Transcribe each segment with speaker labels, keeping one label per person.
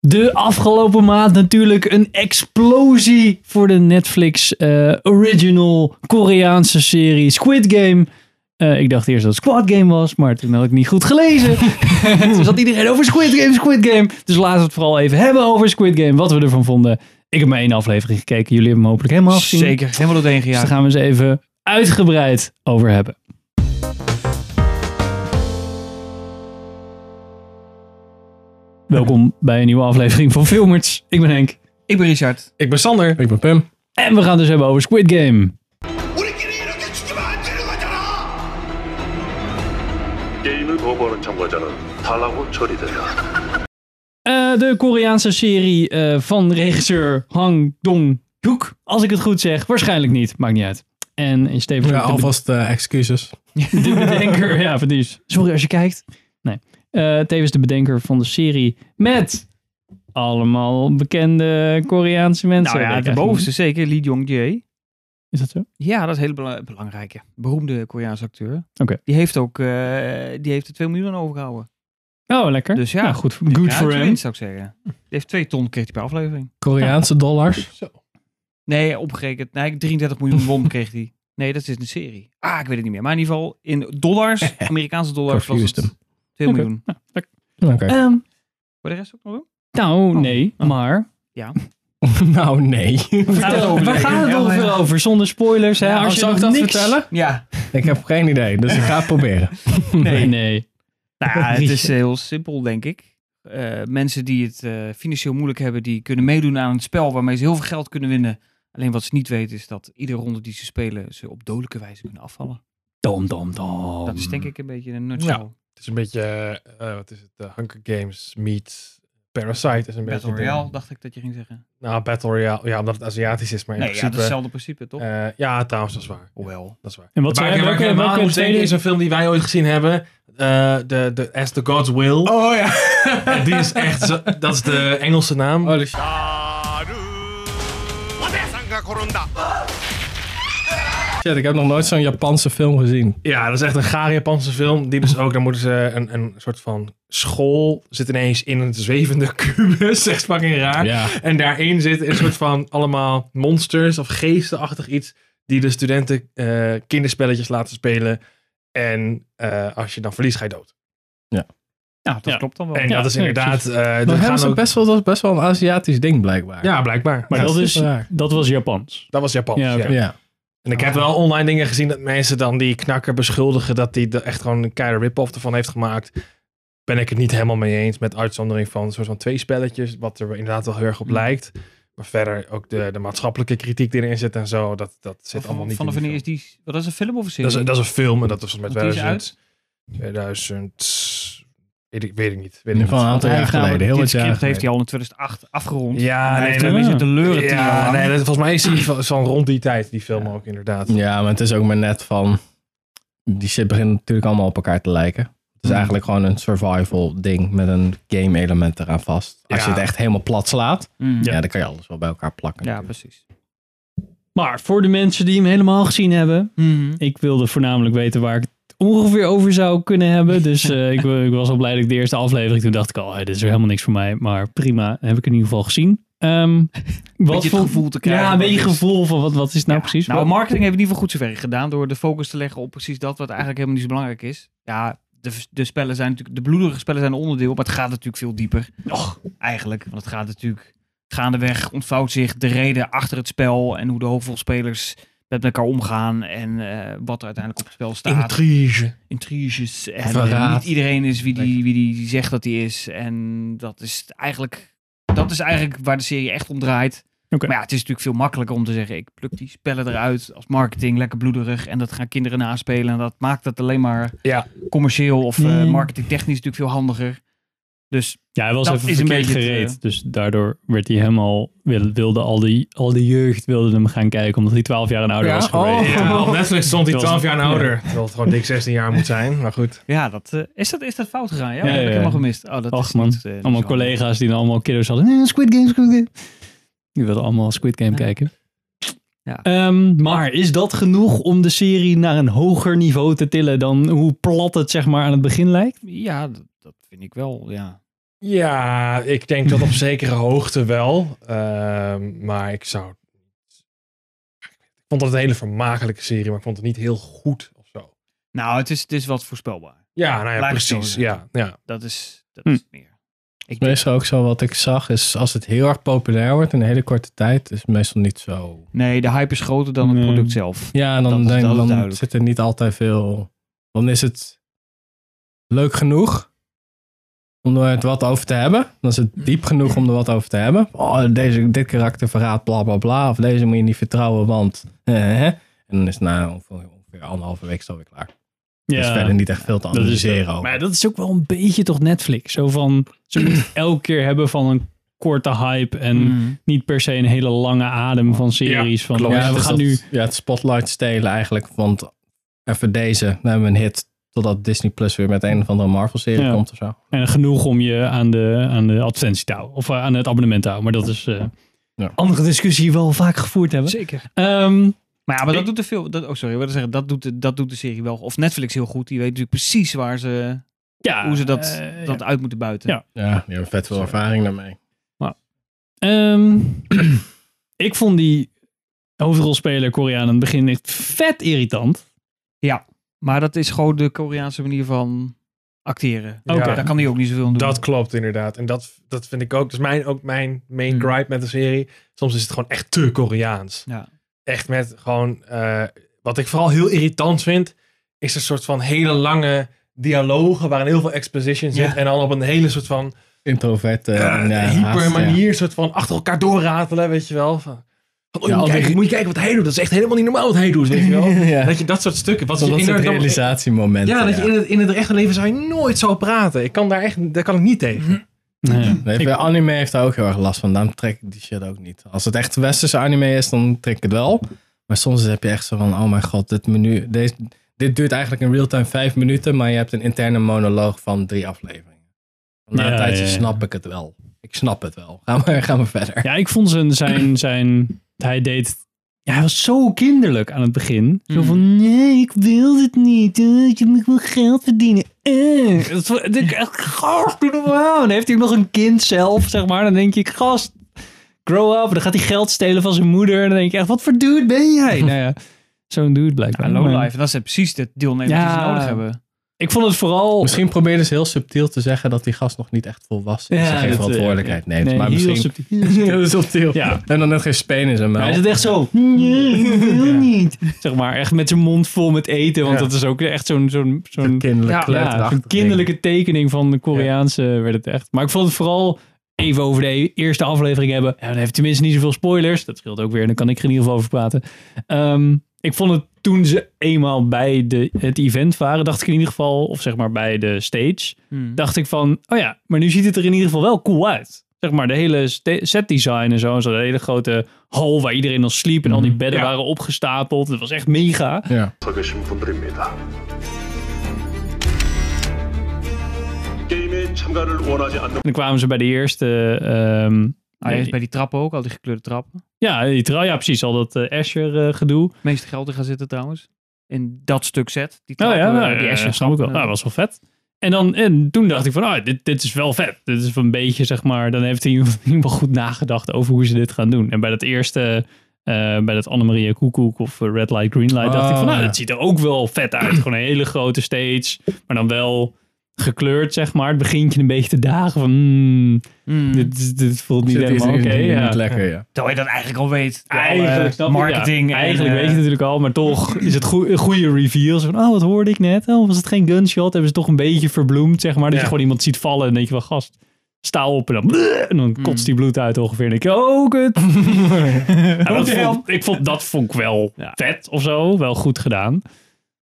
Speaker 1: De afgelopen maand natuurlijk een explosie voor de Netflix eh, original Koreaanse serie Squid Game. Eh, ik dacht eerst dat het Squad Game was, maar toen had ik niet goed gelezen. toen zat iedereen over Squid Game, Squid Game. Dus laten we het vooral even hebben over Squid Game, wat we ervan vonden. Ik heb maar één aflevering gekeken, jullie hebben hem hopelijk helemaal gezien.
Speaker 2: Zeker, helemaal doorheen
Speaker 1: Dus
Speaker 2: gejaagd.
Speaker 1: daar gaan we eens even uitgebreid over hebben. Welkom bij een nieuwe aflevering van Filmers. Ik ben Henk.
Speaker 2: Ik ben Richard.
Speaker 3: Ik ben Sander. Ik ben Pim.
Speaker 1: En we gaan het dus hebben over Squid Game.
Speaker 4: 우리끼리 이렇게 지키면 안 되는 거잖아!
Speaker 5: 게임을 거부하는 참가자는 탈락으로 처리된다.
Speaker 1: Eh, de Koreaanse serie eh, van regisseur Hang Dong-hyuk. Als ik het goed zeg, waarschijnlijk niet. Maakt niet uit. En in steeds
Speaker 3: Ja, alvast eh, excuses.
Speaker 1: de bedenker. ja, verdies. Sorry als je kijkt. Nee. Eh, tevens de bedenker van de serie met allemaal bekende Koreaanse mensen.
Speaker 2: Nou
Speaker 1: Weet
Speaker 2: ja,
Speaker 1: ik
Speaker 2: de
Speaker 1: eigenlijk
Speaker 2: bovenste zeker, Lee Jong-jae.
Speaker 1: niet. Is dat zo?
Speaker 2: Ja, dat is een hele bela- belangrijke. Beroemde Koreaanse acteur.
Speaker 1: Oké.
Speaker 2: Die heeft ook, eh, die heeft er 2 miljoen aan overgehouden.
Speaker 1: Oh, lekker.
Speaker 2: Dus ja.
Speaker 1: Nou, goed voor- good
Speaker 2: ja,
Speaker 1: for
Speaker 2: twee
Speaker 1: him.
Speaker 2: winst, zou ik zeggen. Die heeft 2 ton kreeg hij per aflevering.
Speaker 3: Koreaanse dollars.
Speaker 2: Nee, opgerekend. Nee, 33 miljoen won kreeg hij. Nee, dat is een serie. Ah, ik weet het niet meer. Maar in ieder geval, in dollars, Amerikaanse dollars, was het
Speaker 3: Confused
Speaker 2: 2
Speaker 3: hem.
Speaker 1: Oké.
Speaker 2: miljoen.
Speaker 3: Oké.
Speaker 1: Ehm,
Speaker 2: Voor de rest ook nog wel?
Speaker 1: nou,
Speaker 2: Oh.
Speaker 1: nee,
Speaker 2: Oh.
Speaker 1: maar...
Speaker 3: nou, nee.
Speaker 1: Nou,
Speaker 2: over
Speaker 1: waar
Speaker 2: zeker.
Speaker 1: gaat het
Speaker 2: Ja,
Speaker 1: ongeveer
Speaker 2: ja.
Speaker 1: over? Zonder spoilers, hè?
Speaker 3: Ja,
Speaker 1: Als je
Speaker 3: zou ik
Speaker 1: nog
Speaker 3: dat
Speaker 1: niks...
Speaker 3: vertellen?
Speaker 2: Ja.
Speaker 3: Ik heb geen idee, dus ik ga het proberen.
Speaker 1: Nee.
Speaker 2: Nee.
Speaker 1: nee.
Speaker 2: Nou, ja, het is heel simpel, denk ik. Eh, mensen die het eh, financieel moeilijk hebben, die kunnen meedoen aan een spel waarmee ze heel veel geld kunnen winnen. Alleen wat ze niet weten is dat iedere ronde die ze spelen, ze op dodelijke wijze kunnen afvallen.
Speaker 1: Dom, dom, dom.
Speaker 2: Dat is denk
Speaker 6: Mm.
Speaker 2: ik een beetje een nutshell.
Speaker 6: Het is een beetje, eh, eh, wat is het, de Hunger Games meets Parasite is
Speaker 2: Battle
Speaker 6: een beetje... de-
Speaker 2: Royale, dacht ik dat je ging zeggen.
Speaker 6: Nou, Battle Royale, ja, omdat het Aziatisch is, maar in
Speaker 2: Nee, ja, dat is
Speaker 6: principe... eh,
Speaker 2: hetzelfde principe, toch?
Speaker 6: Ja, ja, trouwens, dat is waar.
Speaker 2: Hoewel.
Speaker 6: Dat is waar.
Speaker 1: En wat
Speaker 6: waar
Speaker 1: zijn
Speaker 6: ik, waar ik
Speaker 1: welke,
Speaker 6: helemaal aan
Speaker 1: welke
Speaker 6: moest denken is
Speaker 1: tweede...
Speaker 6: een film die wij ooit gezien hebben, eh, de, de As the Gods Will.
Speaker 3: Oh ja.
Speaker 6: En Die is echt, zo- dat is de Engelse naam.
Speaker 3: Holy shit.
Speaker 4: 나를 세상과 고른다!
Speaker 3: Shit, ik heb nog nooit zo'n Japanse film gezien.
Speaker 6: Ja, dat is echt een gare Japanse film. Die dus ook, dan moeten ze een, een soort van school zit ineens in een zwevende kubus. Echt fucking raar.
Speaker 3: Ja.
Speaker 6: En daarin zit een soort van allemaal monsters of geestenachtig iets. Die de studenten eh, kinderspelletjes laten spelen. En eh, als je dan verliest, ga je dood.
Speaker 2: Nou, dat
Speaker 1: Ja.
Speaker 2: klopt dan wel.
Speaker 6: En
Speaker 1: Ja,
Speaker 6: dat is
Speaker 1: nee,
Speaker 6: inderdaad. eh,
Speaker 3: Maar
Speaker 6: er
Speaker 3: hebben
Speaker 6: gaan
Speaker 3: ze
Speaker 6: ook-
Speaker 3: best wel, dat is best wel een Aziatisch ding, blijkbaar.
Speaker 6: Ja, blijkbaar.
Speaker 1: Maar
Speaker 6: Ja,
Speaker 1: dat,
Speaker 3: dat
Speaker 1: is,
Speaker 3: is raar.
Speaker 1: dat was Japans.
Speaker 6: dat was Japan.
Speaker 1: Ja,
Speaker 6: Ja,
Speaker 1: oké.
Speaker 3: Ja.
Speaker 6: En
Speaker 2: Ah.
Speaker 6: ik heb wel online dingen gezien dat mensen dan die knakker beschuldigen. dat hij er echt gewoon een keiharde rip-off ervan heeft gemaakt. Ben ik het niet helemaal mee eens. Met uitzondering van een soort van twee spelletjes. Wat er inderdaad wel heel erg
Speaker 2: Hmm.
Speaker 6: op lijkt. Maar verder ook de, de maatschappelijke kritiek die erin zit en zo. Dat, dat zit allemaal
Speaker 2: Van,
Speaker 6: niet
Speaker 2: vanaf
Speaker 6: in die
Speaker 2: wanneer is die... Wat is een film of een serie?
Speaker 6: Dat is, dat is een film en dat was met
Speaker 2: Want die is
Speaker 6: 2000. 2000. Weet ik, weet ik niet. Weet ik
Speaker 3: In
Speaker 6: niet.
Speaker 3: ieder geval een aantal
Speaker 2: Hij heeft
Speaker 6: nou,
Speaker 3: jaar
Speaker 2: namelijk-
Speaker 3: geleden. Heel
Speaker 2: dit
Speaker 3: wat jaar
Speaker 2: script heeft hij
Speaker 3: geleden.
Speaker 2: al in 2008 afgerond.
Speaker 6: Ja,
Speaker 2: hij
Speaker 6: nee,
Speaker 2: heeft
Speaker 6: dat-
Speaker 2: een beetje te leuren tien jaar
Speaker 6: ja,
Speaker 2: lang.
Speaker 6: nee, dat, volgens mij is die van, van rond die tijd, die film ook inderdaad.
Speaker 3: Ja, maar het is ook maar net van... Die shit begint natuurlijk allemaal op elkaar te lijken. Het is
Speaker 6: Hmm.
Speaker 3: eigenlijk gewoon een survival ding met een game element eraan vast. Als je
Speaker 6: Ja.
Speaker 3: het echt helemaal plat slaat,
Speaker 2: Mm.
Speaker 3: Ja.
Speaker 2: Ja.
Speaker 3: dan kan je alles wel bij elkaar plakken. natuurlijk.
Speaker 2: precies.
Speaker 1: Maar voor de mensen die hem helemaal gezien hebben...
Speaker 2: Mhm.
Speaker 1: Ik wilde voornamelijk weten waar ik het ongeveer over zou kunnen hebben. Dus eh, ik, wa- ik was al blij dat ik de eerste aflevering... toen dacht ik al, hey, dit is weer helemaal niks voor mij. Maar prima, heb ik in ieder geval gezien. Ehm wat
Speaker 2: beetje het
Speaker 1: voor-
Speaker 2: gevoel te krijgen
Speaker 1: Ja, een
Speaker 2: wat
Speaker 1: beetje
Speaker 2: is-
Speaker 1: gevoel van wat, wat is het nou precies.
Speaker 2: Nou,
Speaker 1: Wat-
Speaker 2: marketing heeft in ieder geval goed zover gedaan door de focus te leggen op precies dat wat eigenlijk helemaal niet zo belangrijk is. Ja, de, de spellen zijn natuurlijk, de bloederige spellen zijn een onderdeel, maar het gaat natuurlijk veel dieper. Och, eigenlijk, want het gaat natuurlijk gaandeweg ontvouwt zich de reden achter het spel en hoe de hoofdrolspelers met elkaar omgaan en eh, wat er uiteindelijk op het spel staat.
Speaker 6: Intrige.
Speaker 2: Intriges en eh,
Speaker 3: Verraad.
Speaker 2: niet iedereen is wie die, wie die zegt dat hij is en dat is eigenlijk, dat is eigenlijk waar de serie echt om draait.
Speaker 1: Oké.
Speaker 2: Maar ja, het is natuurlijk veel makkelijker om te zeggen: ik pluk die spellen eruit als marketing, lekker bloederig. En dat gaan kinderen naspelen. En dat maakt het alleen maar
Speaker 6: Ja.
Speaker 2: commercieel of eh,
Speaker 1: Mm.
Speaker 2: marketingtechnisch natuurlijk veel handiger. Dus
Speaker 1: Ja, hij was
Speaker 2: Dat
Speaker 1: even
Speaker 2: is een
Speaker 1: verkeerd
Speaker 2: beetje het, eh,
Speaker 1: gereed. Dus daardoor werd hij helemaal... wil- Wilde al die, al die jeugd wilde hem gaan kijken... omdat hij 12 jaar en ouder
Speaker 3: Ja?
Speaker 1: was geworden.
Speaker 3: Oh.
Speaker 6: Ja, op Netflix stond hij
Speaker 1: Dat was-
Speaker 6: 12 jaar en
Speaker 1: ja.
Speaker 6: ouder. Terwijl het gewoon dik 16 jaar moet zijn. Maar goed.
Speaker 2: ja, dat, eh, is, dat, is dat fout gegaan? Ja,
Speaker 1: Ja,
Speaker 2: dat heb
Speaker 1: ja,
Speaker 2: ik
Speaker 1: ja.
Speaker 2: helemaal gemist. Oh, dat
Speaker 1: Och,
Speaker 2: is
Speaker 1: man.
Speaker 2: niet, eh, niet
Speaker 1: Allemaal
Speaker 2: zo.
Speaker 1: collega's die dan allemaal kiddo's hadden. "Eh, Squid Game, Squid Game. Die wilden allemaal Squid Game
Speaker 2: Ja.
Speaker 1: kijken.
Speaker 2: Ja.
Speaker 1: Ehm, maar is dat genoeg om de serie naar een hoger niveau te tillen dan hoe plat het zeg maar aan het begin lijkt?
Speaker 2: Ja, dat, dat vind ik wel. Ja.
Speaker 6: Ja, ik denk dat op zekere hoogte wel. Ehm, maar ik zou... Ik vond dat een hele vermakelijke serie, maar ik vond het niet heel goed of zo.
Speaker 2: Nou, het is, het is wat voorspelbaar.
Speaker 6: Ja, nou ja,
Speaker 2: Laat ik het zo
Speaker 6: precies. Ja,
Speaker 2: zeggen.
Speaker 6: ja.
Speaker 2: Dat is, dat
Speaker 1: Hm.
Speaker 2: is meer. Ik denk-
Speaker 3: Meestal ook zo wat ik zag is als het heel erg populair wordt in een hele korte tijd, is het meestal niet zo.
Speaker 2: nee, de hype is groter dan het
Speaker 1: Nee.
Speaker 2: product zelf.
Speaker 3: Ja,
Speaker 2: Dat
Speaker 3: dan,
Speaker 2: is-
Speaker 3: denk,
Speaker 2: dat is
Speaker 3: dan
Speaker 2: duidelijk.
Speaker 3: zit er niet altijd veel. Dan is het leuk genoeg om er het wat over te hebben. Dan is het diep genoeg om er wat over te hebben. Oh, deze, dit karakter verraadt bla bla bla. Of deze moet je niet vertrouwen, want. eh, hè. En dan is het na ongeveer, ongeveer anderhalve week zo weer klaar. Er is verder niet echt veel te
Speaker 1: dat is
Speaker 3: analyseren.
Speaker 1: het.
Speaker 3: over.
Speaker 1: Maar dat is ook wel een beetje toch Netflix. Zo van, ze moeten het elke keer hebben van een korte hype en
Speaker 2: Mhm.
Speaker 1: niet per se een hele lange adem van series. van,
Speaker 3: Klopt.
Speaker 1: ja, we
Speaker 3: dus
Speaker 1: gaan
Speaker 3: dat-
Speaker 1: nu...
Speaker 3: Ja, het spotlight stelen eigenlijk. Want even deze, dan hebben we een hit. Totdat Disney Plus weer met een of andere Marvel-serie
Speaker 1: Ja.
Speaker 3: komt of zo.
Speaker 1: En genoeg om je aan de, aan de advertentie te houden. Of eh, aan het abonnement te houden. Maar dat is eh,
Speaker 3: Ja.
Speaker 1: andere discussie die we al vaak gevoerd hebben.
Speaker 2: Zeker.
Speaker 1: Ehm,
Speaker 2: Maar ja, maar dat doet de film. Dat, oh, sorry, ik wilde zeggen, dat doet, de, dat doet de serie wel. Of Netflix heel goed. Die weet natuurlijk precies waar ze
Speaker 1: ja,
Speaker 2: hoe ze dat,
Speaker 1: eh,
Speaker 2: dat uit moeten buiten.
Speaker 1: Ja.
Speaker 3: Ja, die hebben vet veel ervaring daarmee.
Speaker 1: ja. Ehm, ik vond die hoofdrolspeler Koreaan aan het begin echt vet irritant.
Speaker 2: Maar dat is gewoon de Koreaanse manier van acteren.
Speaker 6: Ja.
Speaker 2: Daar kan hij ook niet zoveel aan doen.
Speaker 3: Hmm.
Speaker 6: Dat klopt inderdaad. En dat, dat vind ik ook. Dat is mijn, ook mijn main
Speaker 3: Hmm.
Speaker 2: Mm.
Speaker 6: gripe met de serie. Soms is het gewoon echt te Koreaans.
Speaker 2: Ja.
Speaker 6: Echt met gewoon... eh, wat ik vooral heel irritant vind, is een soort van hele lange dialogen waarin heel veel exposition zit.
Speaker 2: Ja.
Speaker 6: En dan op een hele soort van
Speaker 3: Introvert. eh, en, eh,
Speaker 6: eh,
Speaker 3: haast,
Speaker 6: hyper
Speaker 3: ja.
Speaker 6: manier, soort van achter elkaar doorratelen, weet je wel. Van, van, oh,
Speaker 3: Ja,
Speaker 6: moet,
Speaker 3: al
Speaker 6: je
Speaker 3: die-
Speaker 6: kijken, moet je kijken wat hij doet. Dat is echt helemaal niet normaal wat hij doet, weet je wel.
Speaker 3: ja.
Speaker 6: Dat je dat soort stukken. Wat
Speaker 3: Dat
Speaker 6: je
Speaker 3: is
Speaker 6: in
Speaker 3: het
Speaker 6: haar-
Speaker 3: realisatiemoment.
Speaker 6: Ja, dat je in het, in het echte leven zou je nooit zo praten. Ik kan daar echt, daar kan ik niet tegen.
Speaker 3: Mhm.
Speaker 1: Eh,
Speaker 3: Nee, bij anime heeft daar ook heel erg last van. Daarom trek ik die shit ook niet. Als het echt westerse anime is, dan trek ik het wel. Maar soms heb je echt zo van, oh mijn god, dit menu... Deze, dit duurt eigenlijk in real-time vijf minuten, maar je hebt een interne monoloog van drie afleveringen. Na een
Speaker 1: Ja,
Speaker 3: tijdje
Speaker 1: ja, ja.
Speaker 3: snap ik het wel. Ik snap het wel. Ga maar, ga maar verder.
Speaker 1: Ja, ik vond zijn, zijn, zijn hij deed... Ja, hij was zo kinderlijk aan het begin. Zo
Speaker 2: Mm.
Speaker 1: van, nee, ik wil dit niet. Eh, je moet wel geld verdienen. Eh. Dat vond ik echt, gast, doe normaal. En dan heeft hij ook nog een kind zelf, zeg maar. Dan denk je, gast, grow up. Dan gaat hij geld stelen van zijn moeder. En dan denk je echt, wat voor dude ben jij? nou ja, zo'n dude blijkbaar.
Speaker 2: Ja, low
Speaker 1: Maar
Speaker 2: life. En dat zijn precies de deelnemers die
Speaker 1: Ja.
Speaker 2: ze nodig hebben.
Speaker 1: Ik vond het
Speaker 6: Oh.
Speaker 1: vooral...
Speaker 3: Misschien probeerde ze heel subtiel te zeggen dat die gast nog niet echt volwassen is.
Speaker 1: Ja,
Speaker 3: en geen
Speaker 1: dat, eh,
Speaker 3: verantwoordelijkheid neemt.
Speaker 1: nee,
Speaker 3: maar
Speaker 1: heel
Speaker 3: misschien...
Speaker 1: subtiel. Heel subtiel.
Speaker 3: Heel subtiel.
Speaker 1: Ja.
Speaker 3: En dan net geen speen in zijn
Speaker 1: Maar
Speaker 3: mouw.
Speaker 1: hij zit echt zo. Nee, ik wil niet. Zeg maar, echt met zijn mond vol met eten. Want
Speaker 6: Ja.
Speaker 1: dat is ook echt zo'n zo'n zo'n
Speaker 3: Zo'n kinderlijk
Speaker 1: ja, zo'n
Speaker 3: kleuterachtig ding.
Speaker 1: kinderlijke tekening van de Koreaanse werd het echt. Maar ik vond het vooral even over de eerste aflevering hebben. Ja, dan heeft tenminste niet zoveel spoilers. Dat scheelt ook weer. Dan kan ik er in ieder geval over praten. Ehm, ik vond het toen ze eenmaal bij de, het event waren, dacht ik in ieder geval, of zeg maar bij de stage,
Speaker 2: Hmm.
Speaker 1: dacht ik van, oh ja, maar nu ziet het er in ieder geval wel cool uit. Zeg maar, de hele ste- setdesign en zo. En zo de hele grote hal waar iedereen al sliep en al die bedden
Speaker 6: Ja.
Speaker 1: waren opgestapeld. Het was echt mega.
Speaker 3: Ja.
Speaker 5: 서 계신 분들입니다. 게임에 참가를 원하지 않는
Speaker 1: En dan kwamen ze bij de eerste... ehm,
Speaker 2: Ah, hij is bij die trappen ook, al die gekleurde trappen.
Speaker 1: Ja, die trouw, ja precies. Al dat eh, Asher eh, gedoe.
Speaker 2: Het meeste geld in gaan zitten trouwens. In dat stuk set. Die
Speaker 1: Nou
Speaker 2: trappen,
Speaker 1: ja,
Speaker 2: eh, die
Speaker 1: die
Speaker 2: Asher
Speaker 1: Asher snap ik wel. Nou, dat was wel vet. En, dan, en toen dacht ik van, ah, dit, dit is wel vet. Dit is een beetje, zeg maar, dan heeft hij in ieder geval goed nagedacht over hoe ze dit gaan doen. En bij dat eerste, eh, bij dat Annemarie Koekoek of eh, Red Light, Green Light, dacht ik van,
Speaker 3: Oh,
Speaker 1: nou,
Speaker 3: ja.
Speaker 1: dat ziet er ook wel vet uit. Gewoon een hele grote stage, maar dan wel gekleurd, zeg maar. Het begint je een beetje te dagen van, hmm,
Speaker 2: Hmm.
Speaker 1: dit, is- dit voelt niet
Speaker 3: Zit hier
Speaker 1: helemaal oké.
Speaker 3: niet- niet
Speaker 1: ja.
Speaker 3: lekker, ja.
Speaker 2: Terwijl je dat eigenlijk al weet. De alle
Speaker 1: Eigenlijk, snap ik,
Speaker 2: eh, marketing.
Speaker 1: ja.
Speaker 2: en,
Speaker 1: Eigenlijk
Speaker 2: eh,
Speaker 1: weet je natuurlijk al, maar toch is het goe- een goede reveal. Zo van, oh, wat hoorde ik net? Oh, was het geen gunshot? Hebben ze toch een beetje verbloemd, zeg maar. Dat je
Speaker 6: Ja.
Speaker 1: gewoon iemand ziet vallen en dan denk je wel, gast, sta op. En dan, en dan
Speaker 2: Hmm.
Speaker 1: kotst die bloed uit ongeveer. En dan denk je, oh, kut. Ja, dat
Speaker 2: Bloedhelm.
Speaker 1: vond, ik vond, dat vond ik wel
Speaker 2: Ja.
Speaker 1: vet of zo. Wel goed gedaan.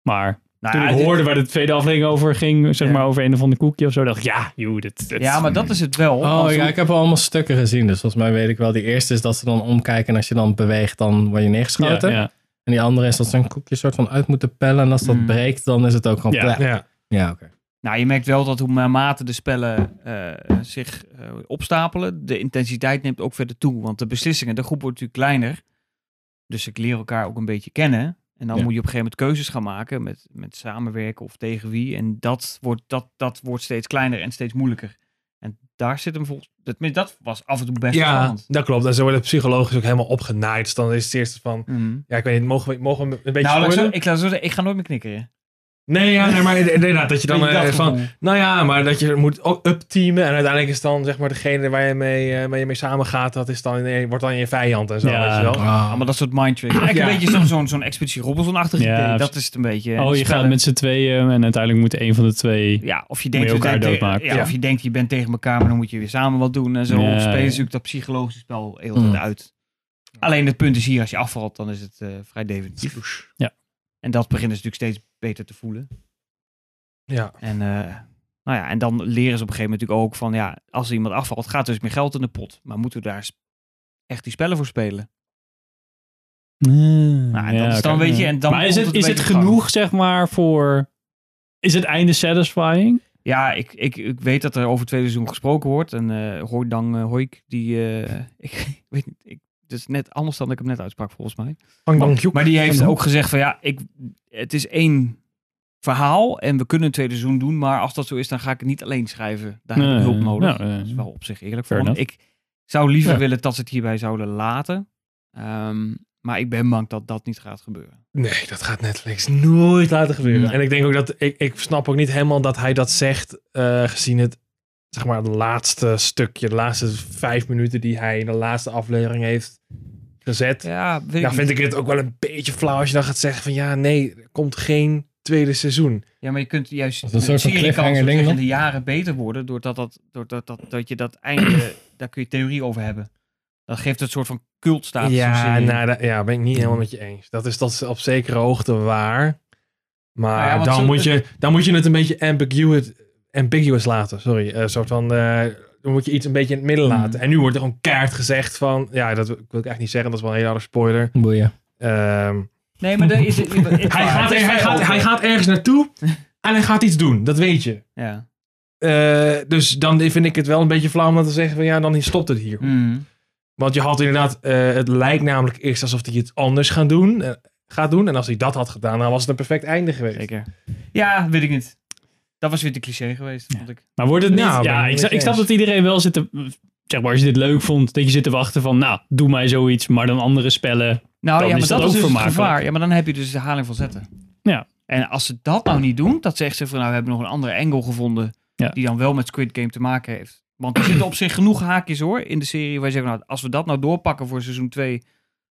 Speaker 1: Maar
Speaker 2: nou
Speaker 1: toen
Speaker 2: ja,
Speaker 1: ik
Speaker 2: dit-
Speaker 1: hoorde waar de tweede aflevering over ging, zeg
Speaker 2: Ja.
Speaker 1: maar over een of ander koekje of zo, dacht ik, ja, joh, dit, dit-
Speaker 2: Ja, maar dat is het wel.
Speaker 3: Oh
Speaker 2: Als-
Speaker 3: ja, ik heb al allemaal stukken gezien. Dus volgens mij weet ik wel. Die eerste is dat ze dan omkijken. En als je dan beweegt, dan word je
Speaker 1: Ja,
Speaker 3: neergeschoten.
Speaker 1: ja.
Speaker 3: En die andere is dat ze een koekje soort van uit moeten pellen. En als dat
Speaker 2: Mm.
Speaker 3: breekt, dan is het ook gewoon
Speaker 1: Ja.
Speaker 3: plek.
Speaker 6: Ja.
Speaker 3: Ja, oké.
Speaker 2: Nou, je merkt wel dat hoe naarmate de spellen eh, zich eh, opstapelen, de intensiteit neemt ook verder toe. Want de beslissingen, de groep wordt natuurlijk kleiner. Dus ik leer elkaar ook een beetje kennen. En dan
Speaker 3: Ja.
Speaker 2: moet je op een gegeven moment keuzes gaan maken met, met samenwerken of tegen wie. En dat wordt, dat, dat wordt steeds kleiner en steeds moeilijker. En daar zit hem volgens... Dat, dat was af en toe best
Speaker 6: Ja,
Speaker 2: spannend.
Speaker 6: dat klopt. En zo wordt het psychologisch ook helemaal opgenaaid. Dus dan is het eerst van,
Speaker 2: Mhm.
Speaker 6: ja, ik weet niet, mogen we, mogen we een beetje
Speaker 2: Nou, laat ik, zo,
Speaker 6: spoilen?
Speaker 2: ik, laat ik zo zeggen, ik ga nooit meer knikkeren.
Speaker 6: Nee, ja, nee, maar inderdaad, dat je dan
Speaker 2: Maar je
Speaker 6: eh,
Speaker 2: dacht
Speaker 6: van,
Speaker 2: gewoon,
Speaker 6: nou ja, maar dat je moet ook upteamen. En uiteindelijk is dan, zeg maar, degene waar je mee, eh, waar je mee samengaat, dat is dan, nee, wordt dan je vijand en zo,
Speaker 1: Ja.
Speaker 6: weet je wel.
Speaker 2: Ah, maar dat soort mindtricks. Eigenlijk
Speaker 6: Ja.
Speaker 2: een beetje zo'n zo'n zo'n Expeditie Robinson-achtig
Speaker 1: Ja,
Speaker 2: idee. Dat
Speaker 1: precies.
Speaker 2: is het een beetje. eh,
Speaker 1: Oh, je
Speaker 2: Spellen.
Speaker 1: gaat met z'n tweeën en uiteindelijk moet een van de twee...
Speaker 2: Ja, of je
Speaker 1: Moet je
Speaker 2: denkt, we
Speaker 1: elkaar
Speaker 2: zijn tegen-
Speaker 1: doodmaken.
Speaker 2: ja,
Speaker 6: Ja.
Speaker 2: of je denkt, je bent tegen elkaar, maar dan moet je weer samen wat doen en zo.
Speaker 1: Ja,
Speaker 2: Spelen ze
Speaker 1: ja.
Speaker 2: natuurlijk dat psychologische spel heel erg
Speaker 1: Mm.
Speaker 2: uit. Alleen het punt is hier, als je afvalt, dan is het eh, vrij definitief.
Speaker 1: Ja.
Speaker 2: En dat beginnen ze natuurlijk steeds beter te voelen.
Speaker 6: Ja.
Speaker 2: En, eh, nou ja, en dan leren ze op een gegeven moment natuurlijk ook van, ja, als er iemand afvalt, gaat er dus meer geld in de pot. Maar moeten we daar sp- echt die spellen voor spelen?
Speaker 1: Ja,
Speaker 2: en dan is
Speaker 1: oké.
Speaker 2: dan, weet je, en dan
Speaker 1: maar is
Speaker 2: komt
Speaker 1: het,
Speaker 2: het
Speaker 1: is
Speaker 2: een
Speaker 1: het
Speaker 2: beetje op gang.
Speaker 1: genoeg, zeg maar, voor... Is het einde satisfying?
Speaker 2: Ja, ik, ik, ik weet dat er over twee seizoen gesproken wordt. En eh Hoordang eh, Hoik, die... eh, ik weet niet, ik, het is net anders dan ik hem net uitsprak, volgens mij.
Speaker 6: Hang
Speaker 2: Maar-
Speaker 6: dan Kjoek.
Speaker 2: Maar die heeft ook gezegd van ja, ik, het is één verhaal en we kunnen een tweede seizoen doen. Maar als dat zo is, dan ga ik het niet alleen schrijven. Daar heb
Speaker 1: Nee,
Speaker 2: ik hulp nodig.
Speaker 1: nou, eh,
Speaker 2: dat is wel op zich eerlijk
Speaker 1: fair
Speaker 2: voor hem. Ik zou liever
Speaker 1: Ja.
Speaker 2: willen dat ze het hierbij zouden laten. Ehm, maar ik ben bang dat dat niet gaat gebeuren.
Speaker 6: Nee, dat gaat Netflix nooit laten gebeuren.
Speaker 1: Nee.
Speaker 6: En ik denk ook dat ik, ik snap ook niet helemaal dat hij dat zegt, eh, gezien het zeg maar het laatste stukje, de laatste vijf minuten die hij in de laatste aflevering heeft gezet.
Speaker 2: Ja, weet
Speaker 6: Ja,
Speaker 2: ik
Speaker 6: Nou vind
Speaker 2: niet.
Speaker 6: ik het ook wel een beetje flauw als je dan gaat zeggen van ja, nee, er komt geen tweede seizoen.
Speaker 2: ja, maar je kunt juist
Speaker 3: Dat is een soort van
Speaker 2: serie kan,
Speaker 3: cliffhanger
Speaker 2: zo
Speaker 3: ding
Speaker 2: zeggen,
Speaker 3: dan.
Speaker 2: de jaren beter worden doordat dat, doordat dat, dat je dat einde, daar kun je theorie over hebben. Dat geeft het een soort van cultstatus. zo'n
Speaker 6: ja,
Speaker 2: serie.
Speaker 6: nou, dat- ja, ben ik niet helemaal met je eens. Dat is dat is op zekere hoogte waar. Maar
Speaker 2: Nou ja, want
Speaker 6: dan,
Speaker 2: zo-
Speaker 6: moet je, dan moet je het een beetje ambiguous, ambiguous laten. Sorry, eh, soort van... eh, dan moet je iets een beetje in het midden laten. En nu wordt er gewoon kaart gezegd van... Ja, dat wil ik echt niet zeggen. Dat is wel een hele harde spoiler.
Speaker 3: Boeien.
Speaker 6: Ehm,
Speaker 2: Nee, maar er is... het- het- het-
Speaker 6: hij, gaat
Speaker 2: het
Speaker 6: er-
Speaker 2: is
Speaker 6: hij,
Speaker 2: vrij
Speaker 6: gaat, hij
Speaker 2: open.
Speaker 6: gaat ergens naartoe. en hij gaat iets doen. Dat weet je.
Speaker 2: Ja.
Speaker 6: Eh, dus dan vind ik het wel een beetje flauw om dan te zeggen van... Ja, dan stopt het hier.
Speaker 2: Mm.
Speaker 6: Want je had inderdaad, eh, het lijkt namelijk eerst alsof hij iets anders gaan doen, eh, gaat doen. En als hij dat had gedaan, dan was het een perfect einde geweest.
Speaker 2: Zeker. Ja, weet ik niet. Dat was weer te cliché geweest, vond ik.
Speaker 1: Maar wordt het niet...
Speaker 6: Nou, ben ik
Speaker 1: ja,
Speaker 6: met
Speaker 1: ik,
Speaker 6: je
Speaker 1: snap- ik snap
Speaker 6: eens.
Speaker 1: dat iedereen wel zit te... Zeg maar, als je dit leuk vond, dat je zit te wachten van... Nou, doe mij zoiets, maar dan andere spellen.
Speaker 2: Nou
Speaker 1: Dan
Speaker 2: ja, maar
Speaker 1: is dat
Speaker 2: dat,
Speaker 1: ook
Speaker 2: is dus het
Speaker 1: vermakelijk.
Speaker 2: gevaar. Ja, maar dan heb je dus de haling van zetten.
Speaker 1: Ja.
Speaker 2: En als ze dat nou niet doen, dat zegt ze van nou, we hebben nog een andere angle gevonden.
Speaker 1: Ja.
Speaker 2: Die dan wel met Squid Game te maken heeft. Want er zitten op zich genoeg haakjes hoor in de serie. Waar je zegt, nou, als we dat nou doorpakken voor seizoen 2,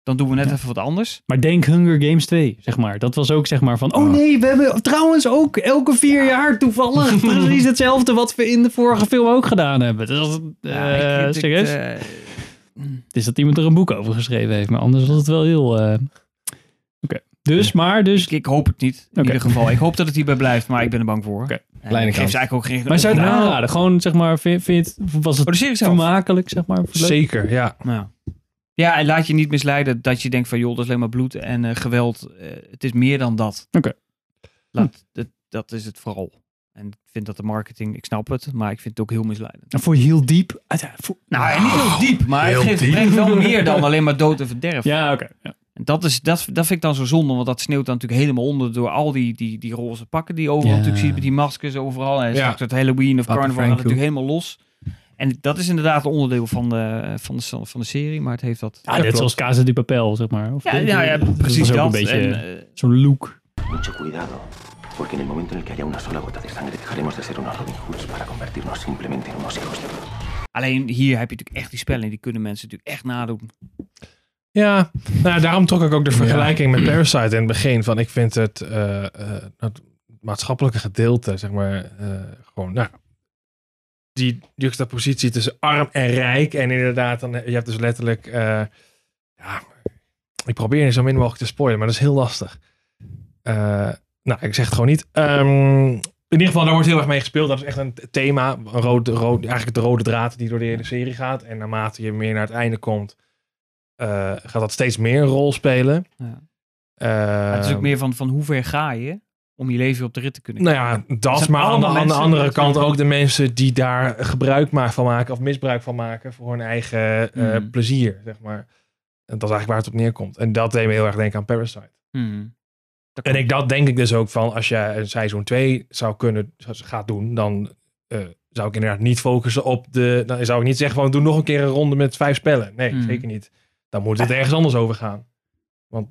Speaker 2: dan doen we net even wat anders.
Speaker 1: Maar denk Hunger Games 2, zeg maar. Dat was ook zeg maar van... Oh nee, we hebben trouwens ook elke vier jaar toevallig... precies hetzelfde wat we in de vorige film ook gedaan hebben. Dus, eh
Speaker 2: Ja, ik- ik-
Speaker 1: serieus?
Speaker 2: eh,
Speaker 1: Het is dat iemand er een boek over geschreven heeft, maar anders was het wel heel. eh, Oké. Dus, maar, dus.
Speaker 2: ik, ik hoop het niet. In
Speaker 1: Oké.
Speaker 2: ieder geval. Ik hoop dat het hierbij blijft, maar ik ben er bang voor.
Speaker 1: Oké.
Speaker 2: En
Speaker 3: Kleine
Speaker 2: ik geef
Speaker 3: kans.
Speaker 2: ze eigenlijk ook geen...
Speaker 1: Maar zou je het
Speaker 2: Nou,
Speaker 1: aanraden? Gewoon, zeg maar, vind, vind je het, was
Speaker 2: Oh,
Speaker 1: het
Speaker 2: de serie zelf.
Speaker 1: vermakelijk, zeg maar? voor leuk?
Speaker 6: Zeker, ja.
Speaker 2: Nou Ja. Ja, en laat je niet misleiden dat je denkt van joh, dat is alleen maar bloed en eh, geweld. Eh, het is meer dan dat.
Speaker 1: Oké.
Speaker 2: Laat, dat, dat is het vooral. En ik vind dat de marketing, ik snap het, maar ik vind het ook heel misleidend.
Speaker 1: En voor je heel diep. uiteindelijk voor-
Speaker 2: Nou, en niet heel diep, maar het
Speaker 6: heel
Speaker 2: geeft,
Speaker 6: diep.
Speaker 2: brengt wel meer dan alleen maar dood en verderf.
Speaker 1: Ja, oké. Ja.
Speaker 2: En dat, is, dat, dat vind ik dan zo zonde, want dat sneeuwt dan natuurlijk helemaal onder door al die, die, die roze pakken die je overal
Speaker 1: Ja.
Speaker 2: natuurlijk ziet, met die maskers overal. En
Speaker 6: Ja.
Speaker 2: straks het Halloween of
Speaker 3: Papa
Speaker 2: Carnival gaat het
Speaker 3: Franco.
Speaker 2: natuurlijk helemaal los. En dat is inderdaad een onderdeel van de, van de, van de serie, maar het heeft dat...
Speaker 1: Ja, net zoals Casa di Papel, zeg maar. Of
Speaker 2: Ja, nou ja,
Speaker 1: was
Speaker 2: precies
Speaker 1: ook
Speaker 2: dat.
Speaker 1: een beetje
Speaker 2: En, eh,
Speaker 1: zo'n look.
Speaker 7: Mucho cuidado, porque en el momento en el que haya una sola gota de sangre dejaremos de ser unos Robin Hoods para convertirnos simplemente en unos hijos de Dios.
Speaker 2: alleen hier heb je natuurlijk echt die spellen en die kunnen mensen natuurlijk echt nadoen.
Speaker 6: Ja, nou, daarom trok ik ook de vergelijking met Parasite in het begin. Van ik vind het, eh, eh, het maatschappelijke gedeelte, zeg maar, eh, gewoon, nou, die juxtapositie tussen arm en rijk. En inderdaad, dan, je hebt dus letterlijk, eh, ja, ik probeer zo min mogelijk te spoilen, maar dat is heel lastig. Eh, nou, ik zeg het gewoon niet. Ehm, in ieder geval, daar wordt heel erg mee gespeeld. Dat is echt een thema, een rood, rood, eigenlijk de rode draad die door de hele serie gaat. En naarmate je meer naar het einde komt, eh, gaat dat steeds meer een rol spelen.
Speaker 2: Ja.
Speaker 6: Eh,
Speaker 2: Maar het is ook meer van, van hoe ver ga je om je leven weer op de rit te kunnen
Speaker 6: Nou ja,
Speaker 2: Het
Speaker 6: dat,
Speaker 2: zijn
Speaker 6: maar aan de,
Speaker 2: allemaal
Speaker 6: aan de
Speaker 2: mensen
Speaker 6: andere
Speaker 2: die-
Speaker 6: kant ook de mensen die daar gebruik ma- van maken of misbruik van maken voor hun eigen eh,
Speaker 2: Mm.
Speaker 6: plezier, zeg maar. En dat is eigenlijk waar het op neerkomt. En dat deed me heel erg denken aan Parasite.
Speaker 2: krijgen? Mhm. Dat
Speaker 6: En
Speaker 2: klopt.
Speaker 6: ik, dat denk ik dus ook van, als je een seizoen 2 zou kunnen, zou- gaat doen, dan eh, zou ik inderdaad niet focussen op de... Dan zou ik niet zeggen van, doe nog een keer een ronde met vijf spellen. Nee,
Speaker 3: Hmm.
Speaker 2: Mhm.
Speaker 6: zeker niet. Dan moet het ergens anders over gaan. Want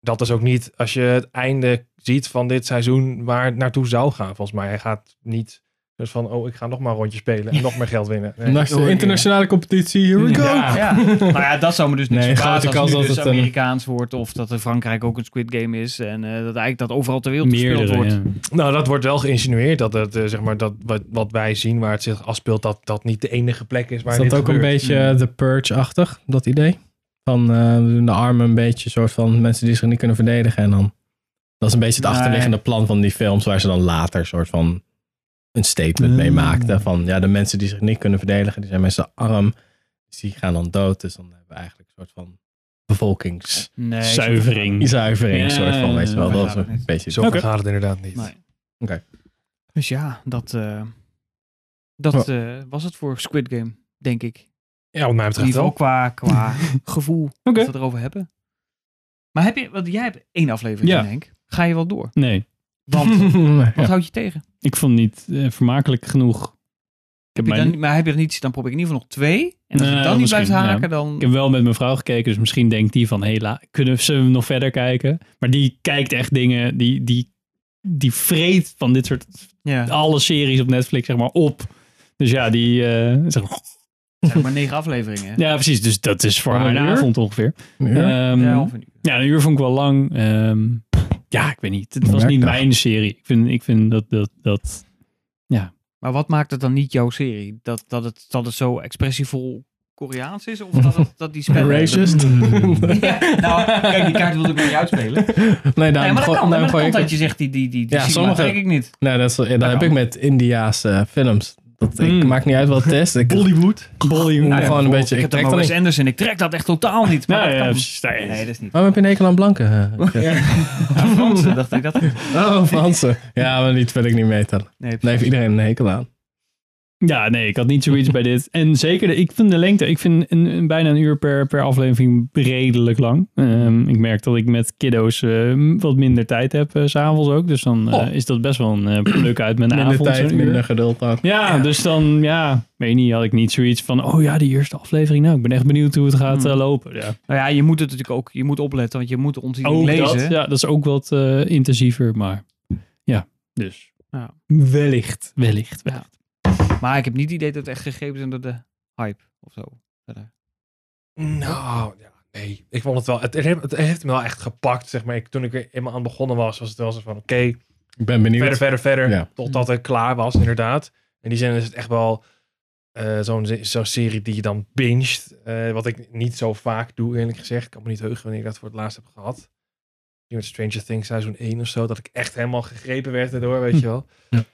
Speaker 6: dat is ook niet, als je het einde ziet van dit seizoen, waar het naartoe zou gaan. Volgens mij, hij gaat niet... Dus van, oh, ik ga nog maar een rondje spelen en nog meer geld winnen. Nee.
Speaker 3: Naast de internationale competitie, here we go.
Speaker 2: Ja, ja. Nou ja, dat zou me dus niet
Speaker 3: Nee, grote
Speaker 2: verbazen als
Speaker 3: kans
Speaker 2: het nu
Speaker 3: dat
Speaker 2: dus
Speaker 3: het, eh,
Speaker 2: Amerikaans wordt. Of dat in Frankrijk ook een Squid Game is. En eh, dat eigenlijk dat overal ter wereld gespeeld
Speaker 1: Meerdere,
Speaker 2: wordt.
Speaker 1: ja.
Speaker 6: Nou, dat wordt wel geïnsinueerd. Dat, het, eh, zeg maar, dat wat, wat wij zien waar het zich afspeelt, dat dat niet de enige plek is waar
Speaker 3: Is dat ook
Speaker 6: dit
Speaker 3: een
Speaker 6: gebeurt.
Speaker 3: beetje eh, The Purge-achtig, dat idee? Van eh, we doen de armen een beetje soort van mensen die zich niet kunnen verdedigen en dan... Dat is een beetje het
Speaker 2: Nee.
Speaker 3: achterliggende plan van die films waar ze dan later soort van een statement mee
Speaker 1: Mm.
Speaker 3: maakten. Van ja, de mensen die zich niet kunnen verdedigen, die zijn mensen arm. Dus die gaan dan dood. Dus dan hebben we eigenlijk een soort van bevolkingszuivering.
Speaker 2: Nee,
Speaker 1: Zuivering. Ja,
Speaker 3: soort van, weet je wel.
Speaker 2: ja,
Speaker 3: Dat
Speaker 2: ja,
Speaker 3: is een
Speaker 2: ja.
Speaker 3: beetje
Speaker 6: Zo
Speaker 1: Oké.
Speaker 6: gaat het inderdaad niet.
Speaker 2: Nee.
Speaker 3: Oké.
Speaker 2: Dus ja, dat, eh, dat eh, was het voor Squid Game, denk ik.
Speaker 6: Ja, wat mij
Speaker 2: In
Speaker 6: betreft
Speaker 2: ieder geval qua,
Speaker 6: wel.
Speaker 2: qua gevoel
Speaker 1: Oké.
Speaker 2: dat we het erover hebben. Maar heb je, want jij hebt één aflevering,
Speaker 1: Ja.
Speaker 2: Henk. Ga je wel door?
Speaker 1: Nee,
Speaker 2: Want wat
Speaker 3: Ja.
Speaker 2: houdt je tegen?
Speaker 1: ik vond het niet eh, vermakelijk genoeg. Ik heb,
Speaker 2: Heb je
Speaker 1: mij
Speaker 2: dan,
Speaker 1: niet-
Speaker 2: niet- maar heb je er niet, dan probeer ik in ieder geval nog twee. En als
Speaker 1: Nee,
Speaker 2: je dan niet blijft
Speaker 1: misschien, ja.
Speaker 2: haken, dan...
Speaker 1: ik heb wel met mijn vrouw gekeken, dus misschien denkt die van, hé, la- kunnen ze nog verder kijken? Maar die kijkt echt dingen, die, die, die vreet van dit soort,
Speaker 2: Ja,
Speaker 1: alle series op Netflix, zeg maar, op. Dus ja, die, eh, zeg maar,
Speaker 2: het zijn maar negen afleveringen. hè?
Speaker 1: ja, precies. Dus dat is voor
Speaker 3: Wat
Speaker 1: haar
Speaker 3: een
Speaker 1: een
Speaker 3: uur?
Speaker 1: avond ongeveer.
Speaker 3: Ja.
Speaker 1: Ehm,
Speaker 2: Ja, of een uur.
Speaker 1: Ja, een uur vond ik wel lang. Ehm, ja, ik weet niet. Het was
Speaker 3: Merk
Speaker 1: niet
Speaker 3: dat.
Speaker 1: mijn serie. Ik vind, ik vind dat, dat, dat...
Speaker 2: Maar wat maakt het dan niet jouw serie? Dat, dat, het, dat het zo expressievol Koreaans is? Of dat, het, dat die spellen...
Speaker 3: Racist?
Speaker 2: Ja, nou, kijk, die kaart wilde ik niet uitspelen.
Speaker 3: nee,
Speaker 2: Nee, maar
Speaker 3: daarom
Speaker 2: dat
Speaker 3: gooi-
Speaker 2: kan. Maar
Speaker 3: daarom
Speaker 2: dat
Speaker 3: gooi
Speaker 2: kan
Speaker 3: ik
Speaker 2: dat je zegt, die, die, die, die
Speaker 3: Ja,
Speaker 2: cinema
Speaker 3: sommige-
Speaker 2: trek ik niet.
Speaker 3: Nee, Nou, dat, is, ja,
Speaker 6: Nou,
Speaker 3: dat heb ik met Indiaanse films. Dat, ik
Speaker 1: Mm.
Speaker 6: Hmm.
Speaker 3: maakt niet uit wat het is. Ik,
Speaker 1: Bollywood. Bollywood.
Speaker 3: Nou, gewoon een beetje.
Speaker 2: Ik
Speaker 3: Ik
Speaker 2: heb dan
Speaker 3: trek dat
Speaker 2: Wes
Speaker 3: niet.
Speaker 2: Anderson, ik trek dat echt totaal niet. Maar
Speaker 1: Nou,
Speaker 2: dat
Speaker 1: ja,
Speaker 2: kan.
Speaker 1: precies, daar is-
Speaker 2: Nee, dat is niet.
Speaker 3: Waarom heb je een enkel aan blanke? eh, gekregen?
Speaker 2: Ja, Fransen dacht ik dat.
Speaker 3: Oh, Fransen. Ja, maar die wil ik niet meetellen.
Speaker 2: Nee,
Speaker 3: Daar heeft iedereen een hekel aan.
Speaker 1: Ja, nee, ik had niet zoiets bij dit. En zeker, de, ik vind de lengte, ik vind een, een- bijna een uur per, per aflevering redelijk lang. Ehm, ik merk dat ik met kiddo's eh, wat minder tijd heb, eh, s s'avonds ook. Dus dan eh,
Speaker 3: Oh.
Speaker 1: is dat best wel een eh, pluk uit
Speaker 6: Nou,
Speaker 1: mijn
Speaker 3: Minder
Speaker 1: avond.
Speaker 3: tijd,
Speaker 1: zo'n uur.
Speaker 3: minder geduld ook.
Speaker 1: Ja, dus dan, ja, weet niet, had ik niet zoiets van, oh ja, die eerste aflevering, nou, ik ben echt benieuwd hoe het gaat
Speaker 2: Hmm.
Speaker 1: eh, lopen. Ja.
Speaker 2: Nou ja, je moet het natuurlijk ook, je moet opletten, want je moet ontzien
Speaker 1: Ook
Speaker 2: lezen.
Speaker 1: dat, ja, dat is ook wat eh, intensiever, maar ja, dus.
Speaker 2: Ja.
Speaker 1: Wellicht. Wellicht, wellicht.
Speaker 2: Maar ik heb niet het idee dat het echt gegeven is door de hype of zo. Verder.
Speaker 6: Nou, ja, nee. Ik vond het wel... Het, heeft- het heeft me wel echt gepakt, zeg maar. Ik, toen ik er eenmaal aan begonnen was, was het wel zo van... Oké,
Speaker 3: Ik ben
Speaker 6: verder,
Speaker 3: benieuwd.
Speaker 6: verder, verder.
Speaker 3: Ja.
Speaker 6: Totdat ik klaar was, inderdaad. In die zin is het echt wel eh, zo'n zo'n serie die je dan binget. eh, wat ik niet zo vaak doe, eerlijk gezegd. Ik kan me niet heugen wanneer ik dat voor het laatst heb gehad. Misschien met Stranger Things seizoen 1 of zo. Dat ik echt helemaal gegrepen werd daardoor, weet je wel.
Speaker 3: Hm. Ja.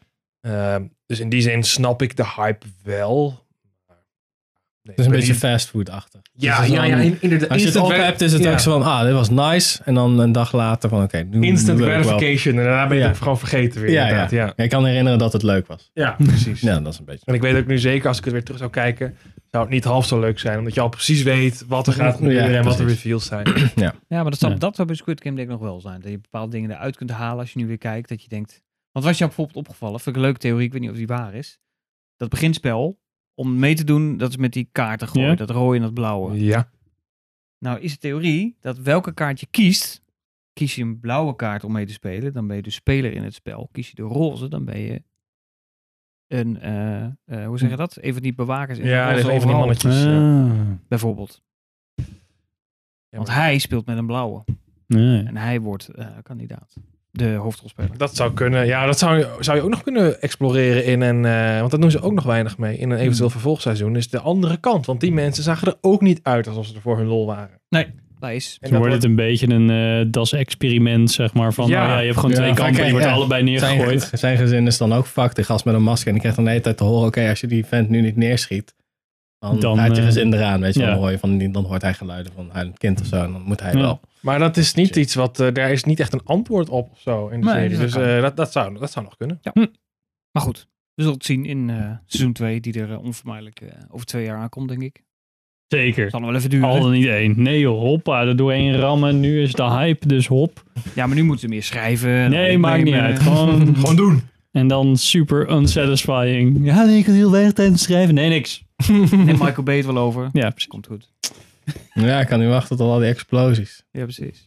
Speaker 6: Ehm, dus in die zin snap ik de hype wel. Maar, nee,
Speaker 3: Het is een
Speaker 6: ik
Speaker 3: beetje
Speaker 6: weet niet-
Speaker 3: fastfood-achtig.
Speaker 6: Ja,
Speaker 3: Dus het is
Speaker 6: ja,
Speaker 3: wel
Speaker 6: ja,
Speaker 3: een-
Speaker 6: in- inderdaad.
Speaker 3: Als je het
Speaker 6: instant
Speaker 3: op
Speaker 6: gra-
Speaker 3: hebt, is het
Speaker 6: ja.
Speaker 3: ook zo van, ah, dit was nice. En dan een dag later van, oké, nu
Speaker 6: Instant
Speaker 3: nu wil ik wel.
Speaker 6: gratification. En daarna ben je
Speaker 3: Ja.
Speaker 6: het gewoon vergeten weer,
Speaker 3: Ja,
Speaker 6: inderdaad. Ja, ja.
Speaker 3: Ja, Ik kan herinneren dat het leuk was.
Speaker 6: precies.
Speaker 3: Ja, dat is een beetje.
Speaker 6: En ik weet ook nu zeker, als ik het weer terug zou kijken, zou het niet half zo leuk zijn. Omdat je al precies weet wat er gaat gebeuren
Speaker 3: Ja,
Speaker 6: en wat de
Speaker 3: precies.
Speaker 6: reveals zijn.
Speaker 2: Ja, maar dat zou,
Speaker 1: Ja.
Speaker 2: dat zou bij Squid Game denk ik nog wel zijn. Dat je bepaalde dingen eruit kunt halen als je nu weer kijkt. Dat je denkt... Want was jou bijvoorbeeld opgevallen? Vind ik een leuke theorie, ik weet niet of die waar is. Dat beginspel, om mee te doen, dat is met die kaarten gooien.
Speaker 1: Ja.
Speaker 2: Dat rode en dat blauwe.
Speaker 6: ja.
Speaker 2: Nou is de theorie dat welke kaart je kiest... Kies je een blauwe kaart om mee te spelen, dan ben je de speler in het spel. Kies je de roze, dan ben je een, eh, eh, hoe zeg je dat? Even die bewakers. in de
Speaker 6: Ja,
Speaker 2: roze
Speaker 6: dat is een van die
Speaker 2: overal,
Speaker 1: Dus,
Speaker 6: mannetjes. ja.
Speaker 1: Ah.
Speaker 2: Bijvoorbeeld. Want
Speaker 6: maar-
Speaker 2: hij speelt met een blauwe.
Speaker 1: Nee.
Speaker 2: En hij wordt eh, kandidaat. De hoofdrolspeler.
Speaker 6: Dat zou kunnen. Ja, dat zou, je- zou je ook nog kunnen exploreren in een... eh, want dat doen ze ook nog weinig mee. In een eventueel vervolgseizoen is de andere kant. Want die mensen zagen er ook niet uit alsof ze er voor hun lol waren.
Speaker 2: Wijs.
Speaker 6: En
Speaker 1: Dan
Speaker 6: dat
Speaker 1: wordt het
Speaker 6: wordt-
Speaker 1: een beetje een eh, das-experiment, zeg maar. Van, oh
Speaker 6: Ja.
Speaker 1: ja. ja, je hebt gewoon
Speaker 3: Ja,
Speaker 1: twee
Speaker 3: vaak
Speaker 1: kampen, die
Speaker 3: krijg-
Speaker 1: worden
Speaker 3: ja.
Speaker 1: allebei
Speaker 3: Zijn,
Speaker 1: neergegooid.
Speaker 3: zijn gezin is dan ook fuck, die gast met een masker. En die krijgt dan de hele tijd te horen, oké, als je die vent nu niet neerschiet, dan,
Speaker 1: Dan,
Speaker 3: gaat je
Speaker 1: eh,
Speaker 3: gezin eraan. Weet je,
Speaker 1: ja.
Speaker 3: dan, hoor je van, die- dan hoort hij geluiden van huilend kind of zo. En dan moet hij
Speaker 1: Ja.
Speaker 3: wel.
Speaker 6: Maar dat is niet iets wat... eh, daar is niet echt een antwoord op of zo in de
Speaker 2: Nee,
Speaker 6: serie.
Speaker 2: dat
Speaker 6: Dus
Speaker 2: kan.
Speaker 6: eh, dat, dat, zou, dat zou nog kunnen.
Speaker 2: Hm. Maar goed, we zullen het zien in eh, seizoen 2, die er eh, onvermijdelijk eh, over twee jaar aankomt, denk ik.
Speaker 1: Zeker.
Speaker 2: Zal nog wel even duren.
Speaker 1: Al dan niet één. Nee joh, hoppa, er doorheen rammen. Nu is de hype, dus hop.
Speaker 2: Ja, nou, maar nu moeten ze meer schrijven. eh, en
Speaker 1: Nee, maakt niet
Speaker 2: opnemen.
Speaker 1: uit. Gewoon,
Speaker 6: Gewoon doen.
Speaker 1: En dan super unsatisfying. Ja, nee, ik had heel weinig tijd te schrijven. Nee, niks.
Speaker 2: En Michael Bay het wel over.
Speaker 1: Ja, precies.
Speaker 2: Komt goed.
Speaker 3: Ja, ik kan niet wachten tot al die explosies.
Speaker 2: Ja, precies.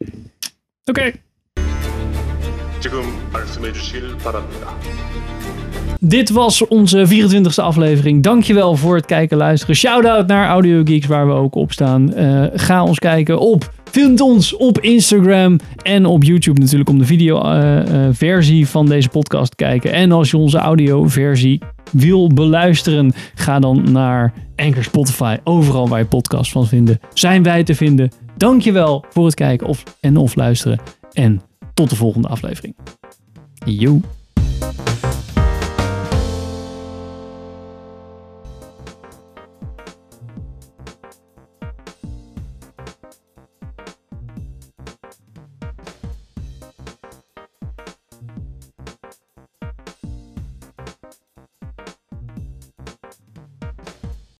Speaker 1: Oké.
Speaker 5: 지금 말씀해 주시길 바랍니다.
Speaker 1: Dit was onze 24e aflevering. Dankjewel voor het kijken en luisteren. Shout-out naar Audio Geeks, waar we ook op staan. Eh, ga ons kijken op... Vind ons op Instagram en op YouTube natuurlijk om de videoversie van deze podcast te kijken. En als je onze audioversie wil beluisteren, ga dan naar Anchor Spotify. Overal waar je podcasts van vinden, zijn wij te vinden. Dankjewel voor het kijken of, en of luisteren. En tot de volgende aflevering. Yo.